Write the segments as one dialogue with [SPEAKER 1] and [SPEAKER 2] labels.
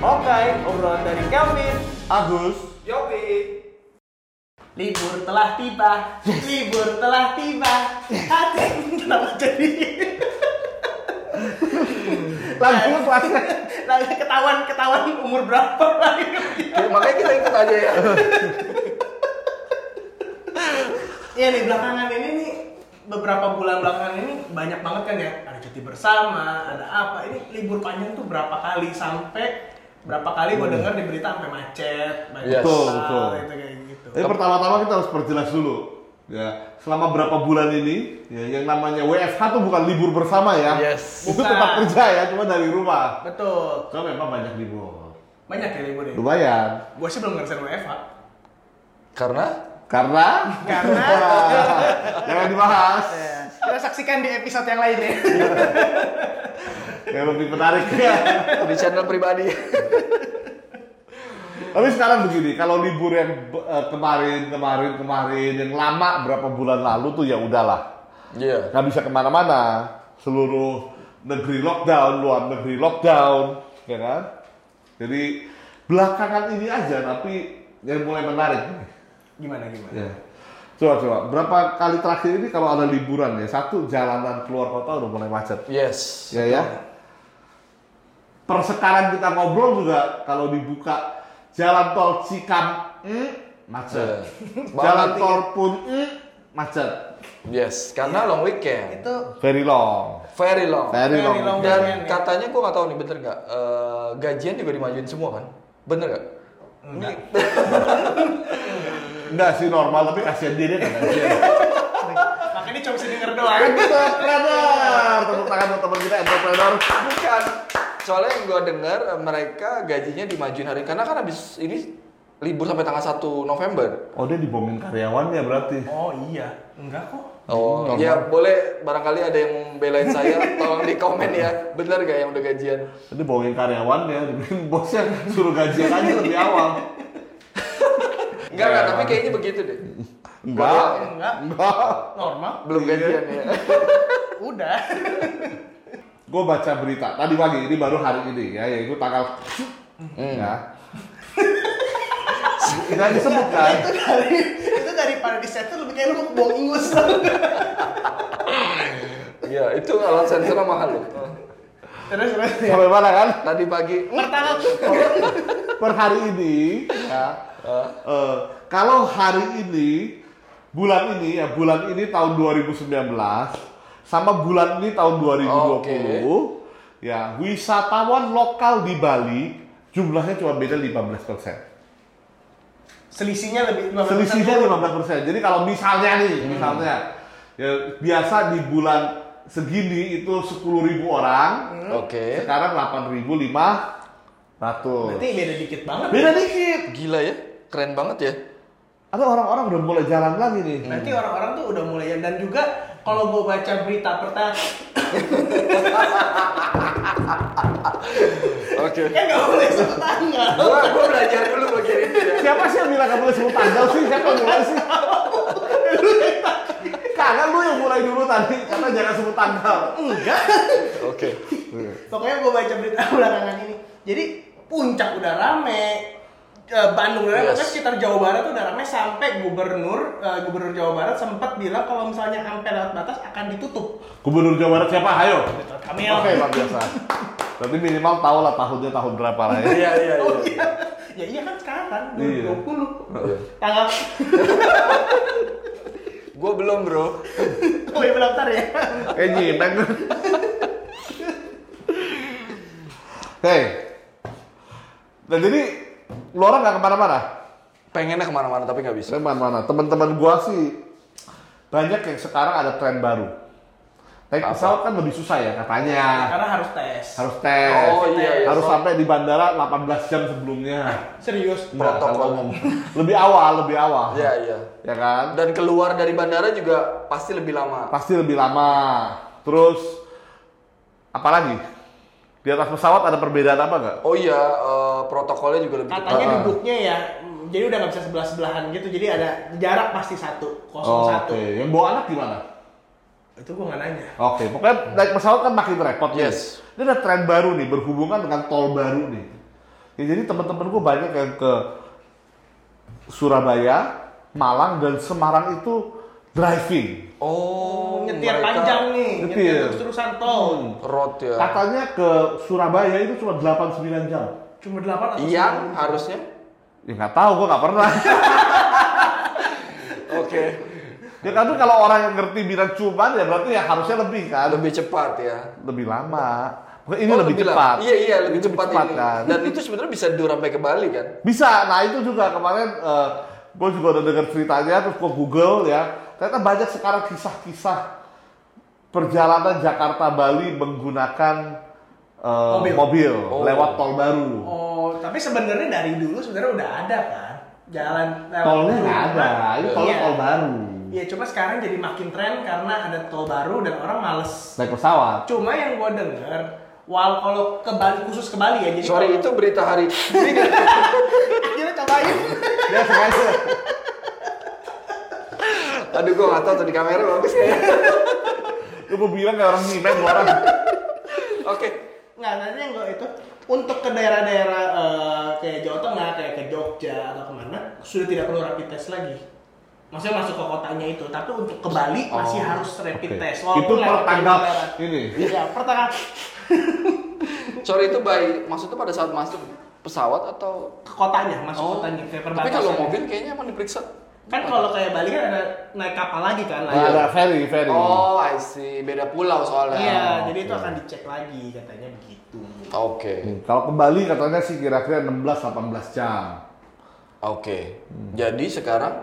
[SPEAKER 1] Oke, obrolan dari Kelvin,
[SPEAKER 2] Agus
[SPEAKER 1] Yopi. Libur telah tiba, libur telah tiba. Hati kenapa jadi?
[SPEAKER 2] lagu pas
[SPEAKER 1] Lagi ketahuan ketahuan Nah, umur berapa lagi?
[SPEAKER 2] makanya kita ikut aja ya
[SPEAKER 1] Iya nih belakangan ini nih beberapa bulan belakangan ini banyak banget kan ya ada cuti bersama, ada apa ini libur panjang tuh berapa kali sampai berapa kali gua dengar di berita sampai macet,
[SPEAKER 3] Hmm.
[SPEAKER 1] banyak
[SPEAKER 3] Yes. Betul,
[SPEAKER 2] betul.
[SPEAKER 1] itu kayak gitu.
[SPEAKER 3] Tapi pertama-tama kita harus perjelas dulu. Ya, selama berapa bulan ini, ya, yang namanya WFH tuh bukan libur bersama ya.
[SPEAKER 2] Yes.
[SPEAKER 3] Itu
[SPEAKER 1] Bukan.
[SPEAKER 3] tetap kerja ya, cuma dari rumah.
[SPEAKER 1] Betul.
[SPEAKER 3] Cuma memang banyak libur.
[SPEAKER 1] Banyak ya libur ya.
[SPEAKER 3] Lumayan.
[SPEAKER 1] Gua sih belum ngerasain WFH.
[SPEAKER 2] karena
[SPEAKER 3] Karena
[SPEAKER 1] Karena-
[SPEAKER 3] jangan dibahas.
[SPEAKER 2] Iya.
[SPEAKER 1] Kita saksikan di episode yang ya. lainnya.
[SPEAKER 3] Yang lebih menarik ya.
[SPEAKER 2] di channel pribadi
[SPEAKER 3] Tapi sekarang begini, kalau libur yang eh, kemarin, kemarin, kemarin, yang lama berapa bulan lalu tuh ya udahlah,
[SPEAKER 2] iya
[SPEAKER 3] nggak bisa kemana-mana, seluruh negeri lockdown, luar negeri lockdown, ya kan? Jadi belakangan ini aja, tapi yang mulai menarik.
[SPEAKER 1] gimana gimana?
[SPEAKER 3] Ya. Coba coba, berapa kali terakhir ini kalau ada liburan ya, satu jalanan keluar kota udah mulai macet,
[SPEAKER 2] yes
[SPEAKER 3] ya ya. Per sekarang kita ngobrol juga kalau dibuka jalan tol Cikam mm, macet.
[SPEAKER 2] Eh,
[SPEAKER 3] jalan
[SPEAKER 2] banget
[SPEAKER 3] tol pun mm, macet.
[SPEAKER 2] yes karena long weekend
[SPEAKER 1] Itu
[SPEAKER 3] Very long.
[SPEAKER 2] very long
[SPEAKER 1] Very
[SPEAKER 3] Very,
[SPEAKER 1] long.
[SPEAKER 3] long.
[SPEAKER 2] dan katanya gue nggak tahu nih bener nggak eh, gajian juga dimajuin semua kan bener nggak
[SPEAKER 1] Enggak.
[SPEAKER 3] Enggak sih normal tapi kasihan dia dia kan kasihan.
[SPEAKER 1] makanya cuma bisa denger doang.
[SPEAKER 3] entrepreneur. Tepuk tangan buat teman kita entrepreneur.
[SPEAKER 2] bukan soalnya yang gue dengar eh, mereka gajinya dimajuin hari karena kan habis ini libur sampai tanggal 1 November
[SPEAKER 3] Oh dia dibohongin karyawannya berarti.
[SPEAKER 1] Oh iya, enggak kok.
[SPEAKER 2] Oh,
[SPEAKER 3] Normal.
[SPEAKER 2] ya boleh barangkali ada yang belain saya, tolong di komen ya. Bener gak yang udah gajian?
[SPEAKER 3] Dia bohongin karyawannya, dibikin bosnya suruh gajian aja lebih awal.
[SPEAKER 2] Enggak, enggak, tapi kayaknya begitu deh.
[SPEAKER 3] Enggak.
[SPEAKER 1] Enggak,
[SPEAKER 3] Enggak.
[SPEAKER 1] normal.
[SPEAKER 2] Belum gajian ya.
[SPEAKER 1] Udah.
[SPEAKER 3] gue baca berita tadi pagi ini baru hari ini ya yaitu tanggal ya nggak disebut kan
[SPEAKER 1] itu dari itu daripada di set tuh lebih kayak lu mau bohong ingus terus
[SPEAKER 2] Iya, itu alat sensornya mahal loh.
[SPEAKER 1] terus ya.
[SPEAKER 3] sampai mana kan
[SPEAKER 2] Tadi pagi
[SPEAKER 1] pertama tuh
[SPEAKER 3] per hari ini ya eh, kalau hari ini bulan ini ya bulan ini tahun 2019 sama bulan ini tahun 2020 ya wisatawan lokal di Bali jumlahnya cuma beda 15
[SPEAKER 1] selisihnya lebih
[SPEAKER 3] selisihnya 15 Jadi kalau misalnya nih, misalnya ya, biasa di bulan segini itu 10.000 orang,
[SPEAKER 2] Hmm. Oke.
[SPEAKER 3] sekarang 8.500.
[SPEAKER 1] berarti beda dikit banget
[SPEAKER 3] Beda dikit.
[SPEAKER 2] Gila ya, keren banget ya.
[SPEAKER 3] Ada orang-orang udah mulai jalan lagi nih.
[SPEAKER 1] berarti orang-orang tuh udah mulai dan juga kalau gua baca berita pertama
[SPEAKER 2] Oke.
[SPEAKER 1] kan nggak boleh satu tanggal
[SPEAKER 2] Gua gua belajar dulu bagian ini. ya.
[SPEAKER 3] Siapa sih yang bilang kamu boleh sebut tanggal sih? Siapa yang mulai sih? Karena lu yang mulai dulu tadi, karena jangan sebut tanggal.
[SPEAKER 1] enggak
[SPEAKER 2] Oke.
[SPEAKER 1] pokoknya gua baca berita belakangan ini jadi puncak udah rame Eh, Bandung udah rame,
[SPEAKER 2] Yes.
[SPEAKER 1] pokoknya sekitar Jawa Barat tuh udah rame sampai gubernur eh, gubernur Jawa Barat sempat bilang kalau misalnya sampai lewat batas akan ditutup.
[SPEAKER 3] Gubernur Jawa Barat siapa? Ayo.
[SPEAKER 1] Kami
[SPEAKER 3] Oke, luar biasa. Berarti minimal tau lah tahunnya tahun berapa lah ya.
[SPEAKER 2] Iya, iya,
[SPEAKER 1] Oh
[SPEAKER 2] iya.
[SPEAKER 1] iya. Ya iya kan sekarang
[SPEAKER 3] Iya.
[SPEAKER 1] 2020.
[SPEAKER 2] Iya.
[SPEAKER 1] Tanggal
[SPEAKER 2] Gua belum, Bro.
[SPEAKER 1] oh iya daftar ya.
[SPEAKER 3] Kayak Eh, nyineng. Hei. Nah jadi lu orang nggak kemana-mana?
[SPEAKER 2] Pengennya kemana-mana tapi nggak bisa.
[SPEAKER 3] Saya mana-mana. Teman-teman gua sih banyak yang sekarang ada tren baru. Naik
[SPEAKER 2] Apa?
[SPEAKER 3] pesawat kan lebih susah ya katanya.
[SPEAKER 1] Karena harus tes.
[SPEAKER 3] Harus tes.
[SPEAKER 2] Oh iya, iya.
[SPEAKER 3] harus
[SPEAKER 2] so-
[SPEAKER 3] sampai di bandara 18 jam sebelumnya.
[SPEAKER 1] Serius.
[SPEAKER 3] Nggak,
[SPEAKER 2] Protokol.
[SPEAKER 3] kalau ngomong. Lebih awal, lebih awal.
[SPEAKER 2] Iya, iya.
[SPEAKER 3] Ya kan?
[SPEAKER 2] Dan keluar dari bandara juga pasti lebih lama.
[SPEAKER 3] pasti lebih lama. Terus apalagi di atas pesawat ada perbedaan apa nggak?
[SPEAKER 2] Oh iya, eh, protokolnya juga lebih ketat.
[SPEAKER 1] Katanya
[SPEAKER 3] Ah.
[SPEAKER 1] duduknya ya mm, jadi udah nggak bisa sebelah sebelahan gitu. Jadi ada jarak pasti satu kosong satu.
[SPEAKER 3] Yang bawa anak gimana?
[SPEAKER 1] Itu gua nggak nanya.
[SPEAKER 3] Oke, pokoknya naik pesawat kan makin repot nih.
[SPEAKER 2] Yes.
[SPEAKER 3] Ini ada tren baru nih berhubungan dengan tol baru nih. Ya, jadi teman-teman gue banyak yang ke Surabaya, Malang dan Semarang itu driving.
[SPEAKER 2] Oh,
[SPEAKER 1] nyetir
[SPEAKER 2] mereka
[SPEAKER 1] panjang nih, nyetir,
[SPEAKER 3] Nyetir. Hmm.
[SPEAKER 1] terus-terusan tol.
[SPEAKER 2] Road ya.
[SPEAKER 3] Katanya ke Surabaya itu cuma 8-9 jam.
[SPEAKER 1] Cuma 8 atau
[SPEAKER 3] Iya.
[SPEAKER 2] Yang
[SPEAKER 1] 9.
[SPEAKER 2] Iya, harusnya.
[SPEAKER 3] Ya nggak tahu, gue nggak pernah.
[SPEAKER 2] Oke.
[SPEAKER 3] ya kan tuh kalau orang yang ngerti bidang cuman ya berarti ya harusnya lebih kan, lebih,
[SPEAKER 2] Lebih cepat ya.
[SPEAKER 3] lama. Pokoknya ini
[SPEAKER 2] Oh,
[SPEAKER 3] lebih,
[SPEAKER 2] lama.
[SPEAKER 3] cepat.
[SPEAKER 2] Iya iya lebih
[SPEAKER 3] Ini
[SPEAKER 2] cepat, ini.
[SPEAKER 3] kan.
[SPEAKER 2] Dan itu sebenarnya bisa dur sampai ke Bali kan.
[SPEAKER 3] Bisa. Nah itu juga kemarin gue juga udah denger ceritanya terus gue Google ya. Ternyata banyak sekarang kisah-kisah perjalanan Jakarta Bali menggunakan eh,
[SPEAKER 1] Mobil.
[SPEAKER 3] mobil,
[SPEAKER 2] Oh.
[SPEAKER 3] lewat tol baru.
[SPEAKER 1] Oh, tapi sebenarnya dari dulu sebenarnya udah ada kan. Jalan lewat
[SPEAKER 3] Tolnya
[SPEAKER 1] dulu.
[SPEAKER 3] nggak ada, ini tolnya
[SPEAKER 1] Iya.
[SPEAKER 3] tol baru.
[SPEAKER 1] Iya, cuma sekarang jadi makin tren karena ada tol baru dan orang males.
[SPEAKER 3] Naik pesawat.
[SPEAKER 1] Cuma yang gua denger, wal kalau ke Bali khusus ke Bali ya, jadi
[SPEAKER 2] Sorry
[SPEAKER 1] kalau-
[SPEAKER 2] itu berita hari.
[SPEAKER 1] akhirnya cobain.
[SPEAKER 3] Ya sengaja.
[SPEAKER 2] Aduh gua nggak tahu tuh di kamera bagus ya.
[SPEAKER 3] Gue bilang kayak orang nyimen lu orang.
[SPEAKER 2] Oke.
[SPEAKER 1] Nggak, nanti yang gua itu untuk ke daerah-daerah eh, kayak Jawa Tengah, kayak ke Jogja atau kemana, sudah tidak perlu rapid test lagi. Maksudnya masuk ke kotanya itu, tapi untuk ke Bali masih
[SPEAKER 2] Oh,
[SPEAKER 1] harus rapid
[SPEAKER 3] Oke.
[SPEAKER 1] test.
[SPEAKER 3] Itu per
[SPEAKER 1] lewat
[SPEAKER 3] tanggal
[SPEAKER 1] daerah.
[SPEAKER 3] ini.
[SPEAKER 1] Iya, per tanggal.
[SPEAKER 2] Sorry itu by maksudnya pada saat masuk pesawat atau
[SPEAKER 1] Ke kotanya, masuk kotanya, kayak
[SPEAKER 2] Oh. Tapi
[SPEAKER 1] perbatasan. ya?
[SPEAKER 2] kalau mobil kayaknya emang diperiksa.
[SPEAKER 1] Kan kalau kayak Bali kan ada naik kapal lagi
[SPEAKER 2] Iya.
[SPEAKER 1] kan.
[SPEAKER 3] Nah, ada ferry, ferry.
[SPEAKER 2] Oh, I see. Beda pulau soalnya.
[SPEAKER 1] Iya, jadi itu akan dicek lagi katanya begitu.
[SPEAKER 2] Oke.
[SPEAKER 3] Hmm, Kalau ke Bali katanya sih kira-kira 16-18 jam.
[SPEAKER 2] Oke. Jadi sekarang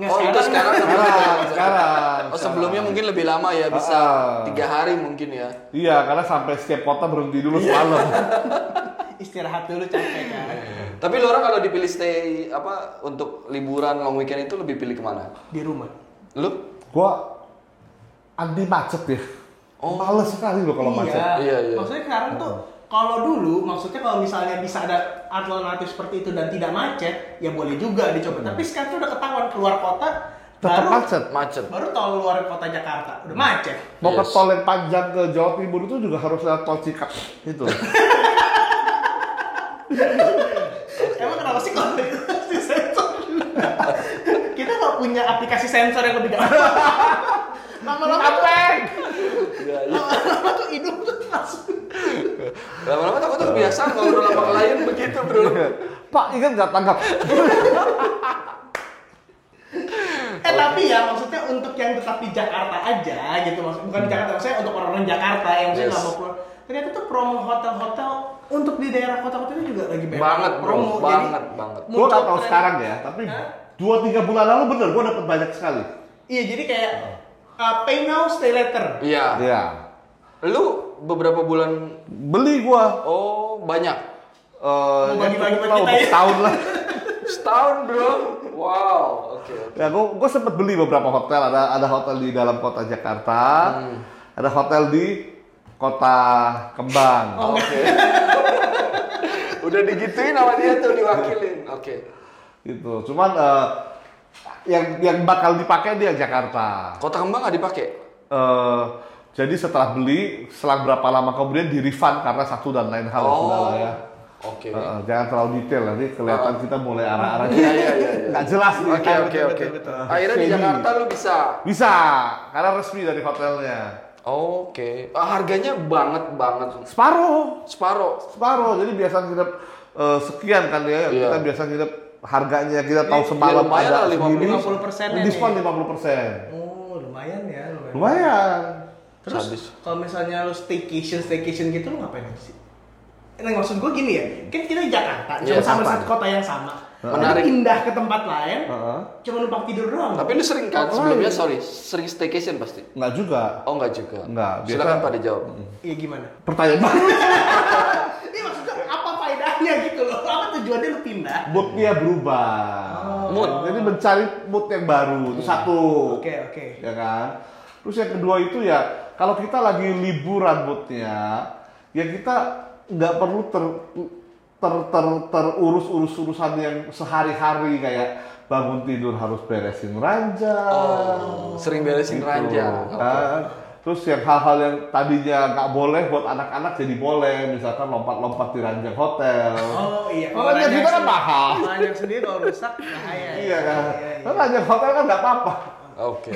[SPEAKER 1] Nggak,
[SPEAKER 2] Oh, itu sekarang
[SPEAKER 3] Sekarang, sekarang.
[SPEAKER 2] Oh, sebelumnya mungkin lebih lama ya, bisa
[SPEAKER 3] Ah.
[SPEAKER 2] tiga hari mungkin ya.
[SPEAKER 3] Iya, karena sampai setiap kota berhenti dulu
[SPEAKER 1] Iya.
[SPEAKER 3] semalam.
[SPEAKER 1] istirahat dulu capek kan.
[SPEAKER 2] Tapi lo orang kalau dipilih stay apa untuk liburan long weekend itu lebih pilih kemana?
[SPEAKER 1] Di rumah.
[SPEAKER 2] Lu?
[SPEAKER 3] gua anti macet ya.
[SPEAKER 1] Oh.
[SPEAKER 3] Males sekali loh kalau macet.
[SPEAKER 2] Iya, iya.
[SPEAKER 1] Maksudnya sekarang tuh kalau dulu maksudnya kalau misalnya bisa ada alternatif seperti itu dan tidak macet, ya boleh juga dicoba. Tapi sekarang tuh udah ketahuan keluar kota
[SPEAKER 3] Hmm. Tetap
[SPEAKER 1] baru
[SPEAKER 3] macet.
[SPEAKER 2] Macet.
[SPEAKER 1] baru tol luar kota Jakarta udah macet.
[SPEAKER 3] Mau ke
[SPEAKER 2] Yes.
[SPEAKER 3] tol yang panjang ke Jawa Timur itu juga harus lewat tol Cikap gitu. itu.
[SPEAKER 1] Emang kenapa sih kalau itu pasti sensor? Kita nggak punya aplikasi sensor yang lebih gampang. Lama-lama lama-lama tuh hidung tuh langsung
[SPEAKER 2] Lama-lama takutnya kebiasaan ngobrol sama klien begitu, Bro.
[SPEAKER 3] Pak, ingat nggak tanggap?
[SPEAKER 1] Eh tapi ya maksudnya untuk yang tetap di Jakarta aja gitu maksud bukan di Jakarta maksudnya untuk orang-orang Jakarta yang maksudnya
[SPEAKER 2] Yes.
[SPEAKER 1] nggak mau keluar. Ternyata tuh promo hotel-hotel untuk di daerah kota-kota itu juga lagi banyak
[SPEAKER 2] Banget, bro.
[SPEAKER 1] promo.
[SPEAKER 2] Banget, banget.
[SPEAKER 1] muncul
[SPEAKER 3] Gua nggak tahu
[SPEAKER 1] tren-
[SPEAKER 3] sekarang ya, tapi
[SPEAKER 1] Hah?
[SPEAKER 3] dua tiga bulan lalu bener gua dapet banyak sekali.
[SPEAKER 1] Iya jadi kayak uh, pay now stay later.
[SPEAKER 2] Iya.
[SPEAKER 3] Iya.
[SPEAKER 2] Lu beberapa bulan
[SPEAKER 3] Beli gua
[SPEAKER 2] oh banyak.
[SPEAKER 3] eh
[SPEAKER 1] Mau bagi-bagi
[SPEAKER 3] ya,
[SPEAKER 1] buat
[SPEAKER 3] tahu,
[SPEAKER 1] kita ya.
[SPEAKER 3] setahun lah.
[SPEAKER 2] Setahun, Bro. Wow. Oke.
[SPEAKER 3] Ya, gua, gua sempet beli beberapa hotel. Ada ada hotel di dalam kota Jakarta,
[SPEAKER 2] Hmm.
[SPEAKER 3] ada hotel di kota Kembang.
[SPEAKER 2] Oke. Udah digituin sama dia tuh diwakilin. Oke.
[SPEAKER 3] Gitu. Cuman eh, yang yang bakal dipakai dia Jakarta.
[SPEAKER 2] Kota Kembang nggak dipakai?
[SPEAKER 3] Eh, jadi setelah beli, selang berapa lama kemudian di refund karena satu dan lain
[SPEAKER 2] Oh.
[SPEAKER 3] hal sudah lah ya.
[SPEAKER 2] Oke.
[SPEAKER 3] Eh, eh, jangan terlalu detail nanti kelihatan kita mulai arah-arah.
[SPEAKER 2] Iya, iya, iya, iya.
[SPEAKER 3] Nggak jelas nih.
[SPEAKER 2] Oh. Oke, oke, oke.
[SPEAKER 1] betul.
[SPEAKER 2] Akhirnya di
[SPEAKER 3] Steady.
[SPEAKER 2] Jakarta lu bisa.
[SPEAKER 3] Bisa, karena resmi dari hotelnya.
[SPEAKER 2] Oke. Ah, Harganya banget banget.
[SPEAKER 3] Separuh.
[SPEAKER 2] Separuh.
[SPEAKER 3] separuh jadi biasa nginep eh, sekian kan ya
[SPEAKER 2] Iya.
[SPEAKER 3] kita biasa nginep harganya kita tahu semalam
[SPEAKER 2] lumayan lah,
[SPEAKER 3] ada
[SPEAKER 1] 50% -nya
[SPEAKER 3] diskon
[SPEAKER 1] nih.
[SPEAKER 3] 50
[SPEAKER 1] Oh lumayan ya lumayan.
[SPEAKER 3] lumayan
[SPEAKER 1] Terus
[SPEAKER 2] Habis.
[SPEAKER 1] kalau misalnya lu staycation staycation gitu lu ngapain aja sih? Nah, maksud gue gini ya, kan kita di Jakarta, cuma
[SPEAKER 2] Iya,
[SPEAKER 1] sama
[SPEAKER 3] Jakarta.
[SPEAKER 1] satu kota yang sama.
[SPEAKER 2] Menarik.
[SPEAKER 1] Menarik. Pindah ke tempat lain,
[SPEAKER 3] Heeh.
[SPEAKER 1] cuma numpang tidur doang.
[SPEAKER 2] Tapi lu sering kan
[SPEAKER 3] Apalagi.
[SPEAKER 2] sebelumnya sorry, sering staycation pasti.
[SPEAKER 3] nggak juga
[SPEAKER 2] Oh enggak juga.
[SPEAKER 3] Nggak, biasa- Mm.
[SPEAKER 2] Silakan Pak dijawab.
[SPEAKER 1] Iya gimana?
[SPEAKER 3] pertanyaan baru
[SPEAKER 1] Iya maksudnya apa faedahnya gitu loh? Apa tujuannya lu pindah?
[SPEAKER 3] moodnya berubah
[SPEAKER 2] Mood.
[SPEAKER 3] jadi mencari mood yang baru itu satu
[SPEAKER 1] Oke oke.
[SPEAKER 3] ya kan terus yang kedua itu ya kalau kita lagi liburan moodnya ya kita nggak perlu ter ter ter terurus urus urusan yang sehari-hari kayak bangun tidur harus beresin ranjang
[SPEAKER 2] Oh, sering beresin
[SPEAKER 3] gitu,
[SPEAKER 2] ranjang.
[SPEAKER 3] kan. Terus yang hal-hal yang tadinya nggak boleh buat anak-anak jadi boleh, misalkan lompat-lompat di ranjang hotel.
[SPEAKER 1] Oh iya.
[SPEAKER 3] Kalau ranjang kita kan mahal.
[SPEAKER 1] Banyak sendiri kalau rusak bahaya.
[SPEAKER 3] Iya kan.
[SPEAKER 1] Iya,
[SPEAKER 3] Kan ranjang hotel kan nggak apa-apa.
[SPEAKER 2] Oke.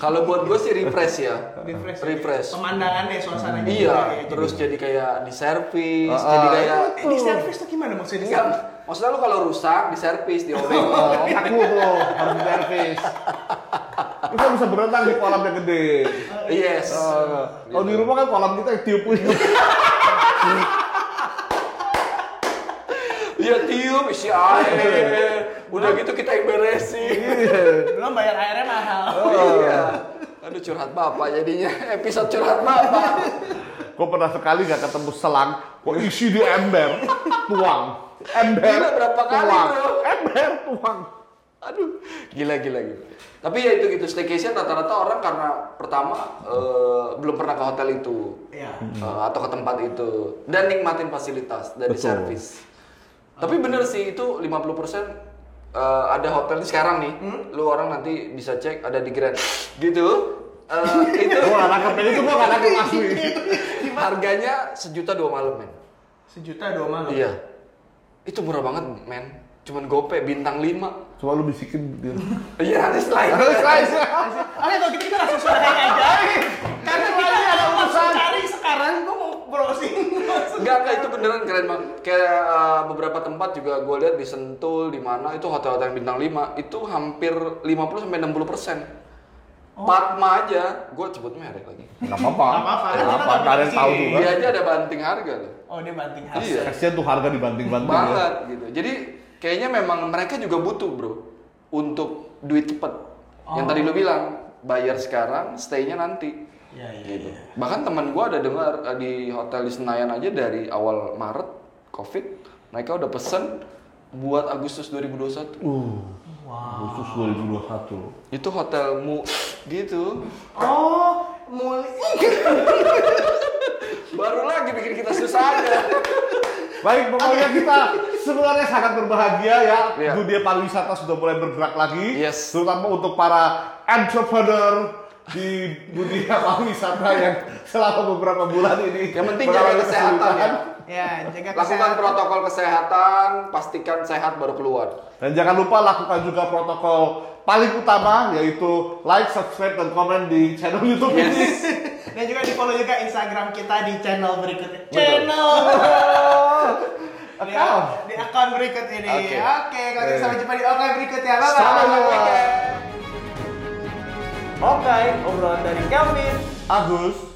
[SPEAKER 2] Kalau buat gue sih refresh ya.
[SPEAKER 1] Refresh.
[SPEAKER 2] Refresh.
[SPEAKER 1] Pemandangannya suasananya.
[SPEAKER 2] Iya,
[SPEAKER 1] juga ya, jadi-
[SPEAKER 2] terus jadi kayak di servis,
[SPEAKER 3] Gitu. Ah,
[SPEAKER 2] jadi
[SPEAKER 3] ah,
[SPEAKER 2] kayak
[SPEAKER 1] Eh, di service tuh gimana maksudnya di
[SPEAKER 2] Enggak,
[SPEAKER 1] service?
[SPEAKER 2] maksudnya lu kalau rusak di servis, diomelin.
[SPEAKER 3] Oh, aku tuh harus servis. Terus kan bisa berenang di kolam yang gede. ah.
[SPEAKER 2] yes.
[SPEAKER 3] Eh, Kalau di rumah kan kolam kita yang tiup.
[SPEAKER 2] Iya tiup isi air. Udah
[SPEAKER 3] Ah.
[SPEAKER 2] gitu kita yang beresin.
[SPEAKER 3] Iya.
[SPEAKER 1] Belum bayar airnya mahal.
[SPEAKER 3] Ah.
[SPEAKER 2] Iya. Aduh curhat bapak jadinya episode curhat bapak.
[SPEAKER 3] Gue pernah sekali gak ketemu selang, gue isi di ember, tuang. Ember,
[SPEAKER 2] Gila, berapa kali,
[SPEAKER 3] tuang.
[SPEAKER 2] Bro?
[SPEAKER 3] Ember, tuang.
[SPEAKER 2] Aduh, gila gila gila. Tapi ya itu gitu staycation rata-rata orang karena pertama eh, belum pernah ke hotel itu
[SPEAKER 1] Iya.
[SPEAKER 2] Eh, atau ke tempat itu dan nikmatin fasilitas dari
[SPEAKER 3] Betul.
[SPEAKER 2] servis. Tapi bener sih itu 50% eh, ada hotel nih sekarang nih. Lu orang nanti bisa cek ada di Grand. Gitu. Eh, itu
[SPEAKER 3] Gue gak nangkep ini, gue gak nangkep asli.
[SPEAKER 2] harganya sejuta dua malam men.
[SPEAKER 1] Sejuta dua malam.
[SPEAKER 2] Iya. Itu murah banget men. Cuman gope bintang 5.
[SPEAKER 3] Cuma lu bisikin. Dir.
[SPEAKER 2] Iya, nanti slide.
[SPEAKER 3] Terus guys,
[SPEAKER 1] Oke, kalau gitu kita langsung sudah kayak aja. Karena kita
[SPEAKER 3] Ini ada
[SPEAKER 1] ada urusan
[SPEAKER 3] urusan.
[SPEAKER 1] cari sekarang gua mau browsing.
[SPEAKER 2] Enggak, enggak itu beneran keren banget. Kayak eh, beberapa tempat juga gue lihat di Sentul, di mana itu hotel-hotel yang bintang 5 itu hampir 50 sampai 60 persen. Patma aja, gue sebut merek lagi.
[SPEAKER 3] Gak apa-apa.
[SPEAKER 1] Gak apa-apa,
[SPEAKER 3] Gak apa-apa,
[SPEAKER 1] kita
[SPEAKER 3] kalian
[SPEAKER 1] nggak
[SPEAKER 3] tahu tuh
[SPEAKER 1] bisikin.
[SPEAKER 3] kan.
[SPEAKER 2] Dia Iya, aja ada banting harga loh.
[SPEAKER 1] Oh, dia banting khas.
[SPEAKER 2] Iya,
[SPEAKER 3] Kasian tuh harga dibanting-banting. ya.
[SPEAKER 2] banget gitu. Jadi kayaknya memang mereka juga butuh bro untuk duit cepet. Yang tadi lu bilang bayar sekarang, stay-nya nanti.
[SPEAKER 1] Iya, iya,
[SPEAKER 2] gitu.
[SPEAKER 1] iya.
[SPEAKER 2] Bahkan teman gua ada dengar eh, di hotel di Senayan aja dari awal Maret Covid mereka udah pesen buat Agustus 2021.
[SPEAKER 3] Uh,
[SPEAKER 1] Wow.
[SPEAKER 3] khusus 2021.
[SPEAKER 2] Itu hotelmu gitu.
[SPEAKER 1] Oh, mulai.
[SPEAKER 2] Baru lagi bikin kita susah aja.
[SPEAKER 3] Baik, pokoknya kita sebenarnya sangat berbahagia ya.
[SPEAKER 2] Iya.
[SPEAKER 3] Dunia pariwisata sudah mulai bergerak lagi.
[SPEAKER 2] Yes.
[SPEAKER 3] Terutama untuk para entrepreneur di dunia pariwisata yang selama beberapa bulan ini.
[SPEAKER 2] Yang penting jaga
[SPEAKER 3] mengalami
[SPEAKER 2] kesehatan ya.
[SPEAKER 3] kesulitan.
[SPEAKER 1] Ya, jaga
[SPEAKER 2] Lakukan
[SPEAKER 1] kesehatan.
[SPEAKER 2] protokol kesehatan, pastikan sehat baru keluar.
[SPEAKER 3] Dan jangan lupa lakukan juga protokol paling utama yaitu like, subscribe, dan komen di channel YouTube ini.
[SPEAKER 2] Yes.
[SPEAKER 1] Dan juga di follow juga Instagram kita di channel berikutnya.
[SPEAKER 2] Betul.
[SPEAKER 1] Channel. Di,
[SPEAKER 3] Account.
[SPEAKER 1] di akun berikut ini.
[SPEAKER 2] Oke.
[SPEAKER 1] Oke, kalau gitu
[SPEAKER 3] Eh.
[SPEAKER 1] sampai jumpa di Oke berikutnya.
[SPEAKER 3] Sampai jumpa.
[SPEAKER 1] Oke, obrolan dari Kelvin.
[SPEAKER 3] Agus.